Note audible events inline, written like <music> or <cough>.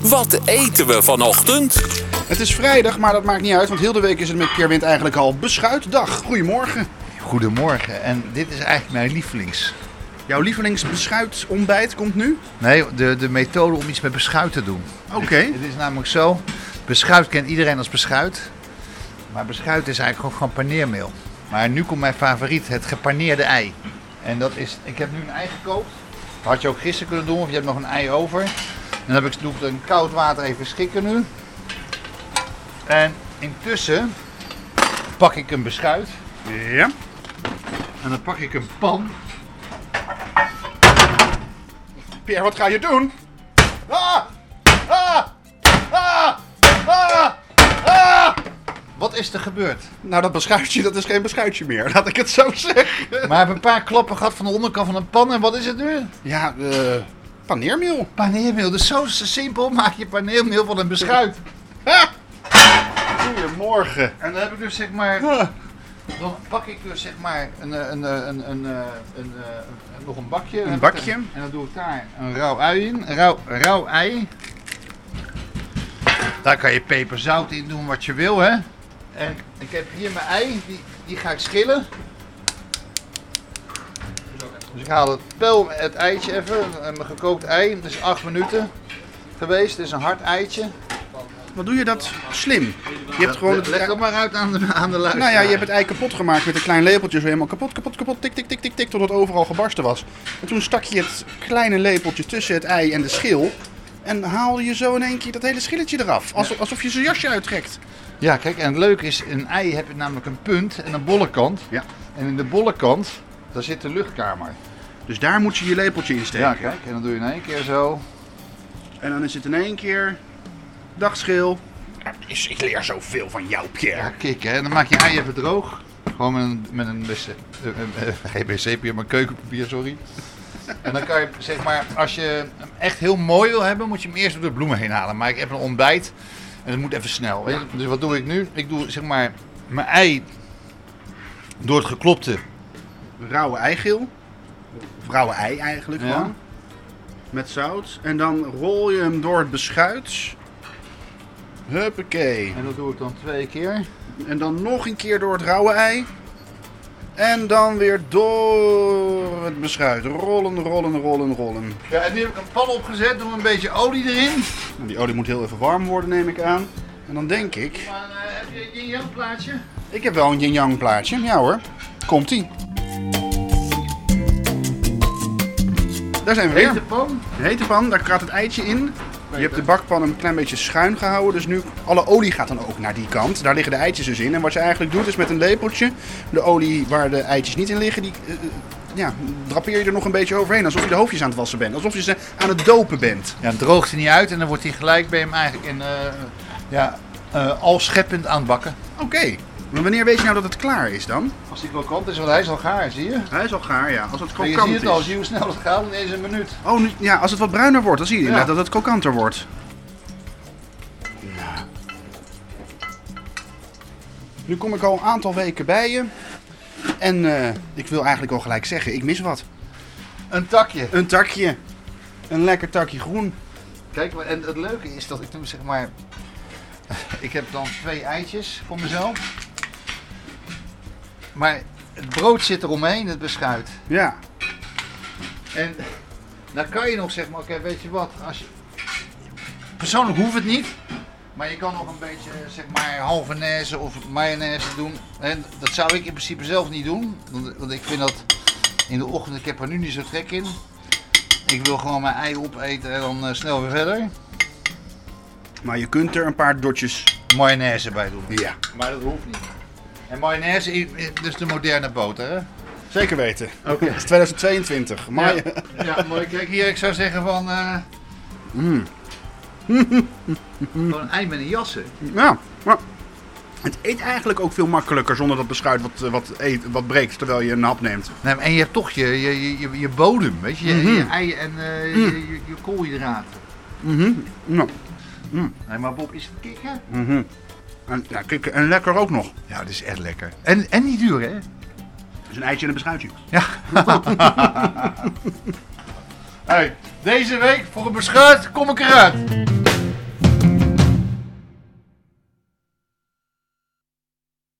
Wat eten we vanochtend? Het is vrijdag, maar dat maakt niet uit, want heel de week is het met Pierre Wind eigenlijk al beschuitdag. Goedemorgen. Goedemorgen. En dit is eigenlijk mijn lievelings. Jouw lievelingsbeschuitontbijt komt nu? Nee, de, de methode om iets met beschuit te doen. Oké. Het is namelijk zo, beschuit kent iedereen als beschuit. Maar beschuit is eigenlijk gewoon, gewoon paneermeel. Maar nu komt mijn favoriet, het gepaneerde ei. En dat is, ik heb nu een ei gekookt. Dat had je ook gisteren kunnen doen, of je hebt nog een ei over. En dan heb ik, doe ik het in koud water even schikken nu. En intussen pak ik een beschuit. Ja. En dan pak ik een pan. Pierre, wat ga je doen? Ah! Ah! Ah! Ah! Ah! Wat is er gebeurd? Nou, dat beschuitje, dat is geen beschuitje meer, <laughs> laat ik het zo zeggen. Maar ik heb een paar klappen gehad van de onderkant van een pan en wat is het nu? Ja, eh, paneermeel. Paneermeel, dus zo simpel maak je paneermeel van een beschuit. Ah! Goedemorgen. En dan heb ik dus zeg maar, Ah. dan pak ik dus zeg maar een, eh, een, eh, een, een, eh, een, eh, een- nog een bakje. Dan Een heb ik bakje. een- en dan doe ik daar een rauw ui in, een rauw, een rauw ei. Daar kan je peperzout in doen wat je wil hè. En ik heb hier mijn ei, die, die ga ik schillen. Dus ik haal het pel, het eitje even, eh, mijn gekookt ei, dat is 8 minuten geweest, het is een hard eitje. Wat doe je dat slim? Je hebt gewoon Gewoon, het leg hem maar uit aan de, aan de luisteraar. Nou ja, je hebt het ei kapot gemaakt met een klein lepeltje. Zo helemaal kapot, kapot, kapot. Tik, tik, tik, tik, tik. Totdat het overal gebarsten was. En toen stak je het kleine lepeltje tussen het ei en de schil. En haalde je zo in één keer dat hele schilletje eraf. Alsof, alsof je zijn jasje uittrekt. Ja, kijk, en het leuke is, een ei heb je namelijk een punt en een bolle kant. Ja. En in de bolle kant, daar zit de luchtkamer. Dus daar moet je je lepeltje in steken. Ja, kijk, en dan doe je in één keer zo. En dan is het in één keer... Dag schil. Is- Ik leer zoveel van jou, Ja, Pierre. kijk, hè. En dan maak je ei even droog. Gewoon met een, met een wc, eh, eh, <laughs> eh, geen wc-papier, maar keukenpapier, sorry. En dan kan je, zeg maar, als je hem echt heel mooi wil hebben, moet je hem eerst door de bloemen heen halen. Maar ik heb een ontbijt en het moet even snel. weet je. Dus wat doe ik nu? Ik doe, zeg maar, mijn ei door het geklopte Rauwe eigeel. Of rauwe ei eigenlijk Ja. gewoon. Met zout. En dan rol je hem door het beschuit. Huppakee. En dat doe ik dan twee keer. En dan nog een keer door het rauwe ei. En dan weer door het beschuit. Rollen, rollen, rollen, rollen. Ja, en nu heb ik een pan opgezet, doe een beetje olie erin. Nou, die olie moet heel even warm worden, neem ik aan. En dan denk ik... Maar eh, heb je een yin plaatje? Ik heb wel een yin-yang plaatje. Ja hoor. Komt-ie. Daar zijn we Hete weer. pan. De hete pan, daar gaat het eitje in. Je hebt de bakpan een klein beetje schuin gehouden, dus nu alle olie gaat dan ook naar die kant. Daar liggen de eitjes dus in. En wat je eigenlijk doet is met een lepeltje de olie waar de eitjes niet in liggen, die eh, eh, ja, drapeer je er nog een beetje overheen. Alsof je de hoofdjes aan het wassen bent, alsof je ze aan het dopen bent. Ja, het droogt er niet uit en dan wordt hij gelijk bij hem eigenlijk in, eh, ja, eh, al scheppend aan het bakken. Oké, maar wanneer weet je nou dat het klaar is dan? Als hij krokant is, want hij is al gaar, zie je? Hij is al gaar, ja. Als het Maar je ziet het al, zie je hoe snel het gaat in eens een minuut. Oh, nu- ja, als het wat bruiner wordt, dan zie je Ja. inderdaad dat het kokanter wordt. Nu kom ik al een aantal weken bij je. En eh, ik wil eigenlijk al gelijk zeggen, ik mis wat. Een takje. Een takje. Een lekker takje groen. Kijk, maar- en het leuke is dat ik nu zeg maar. <laughs> Ik heb dan twee eitjes voor mezelf. Maar het brood zit eromheen, het beschuit. Ja. En dan kan je nog zeg maar, oké, weet je wat, als je... persoonlijk hoeft het niet, maar je kan nog een beetje zeg maar halvenaise of mayonaise doen. En dat zou ik in principe zelf niet doen, want, want ik vind dat in de ochtend, ik heb er nu niet zo trek in. Ik wil gewoon mijn ei opeten en dan eh, snel weer verder. Maar je kunt er een paar dotjes. Mayonaise bij doen. Ja. Maar dat hoeft niet. En mayonaise is is dus de moderne boter, hè? Zeker weten. Oké. 2022. Maar ja, ja, maar kijk hier, ik zou zeggen van... eh Mm. Gewoon een ei met een jassen. Ja, maar het eet eigenlijk ook veel makkelijker zonder dat beschuit wat, eh, wat, eet, wat breekt terwijl je een hap neemt. Nee, en je hebt toch je, je, je- je, je bodem, weet je, je, je ei en eh, je, je, je koolhydraten. Nou, Nee, maar Bob, is het kikken? en, ja, kijk, en lekker ook nog. Ja, dat is echt lekker. En, en niet duur, hè? Dat is een eitje en een beschuitje. <laughs> Ja. hey, deze week voor een beschuit kom ik eruit.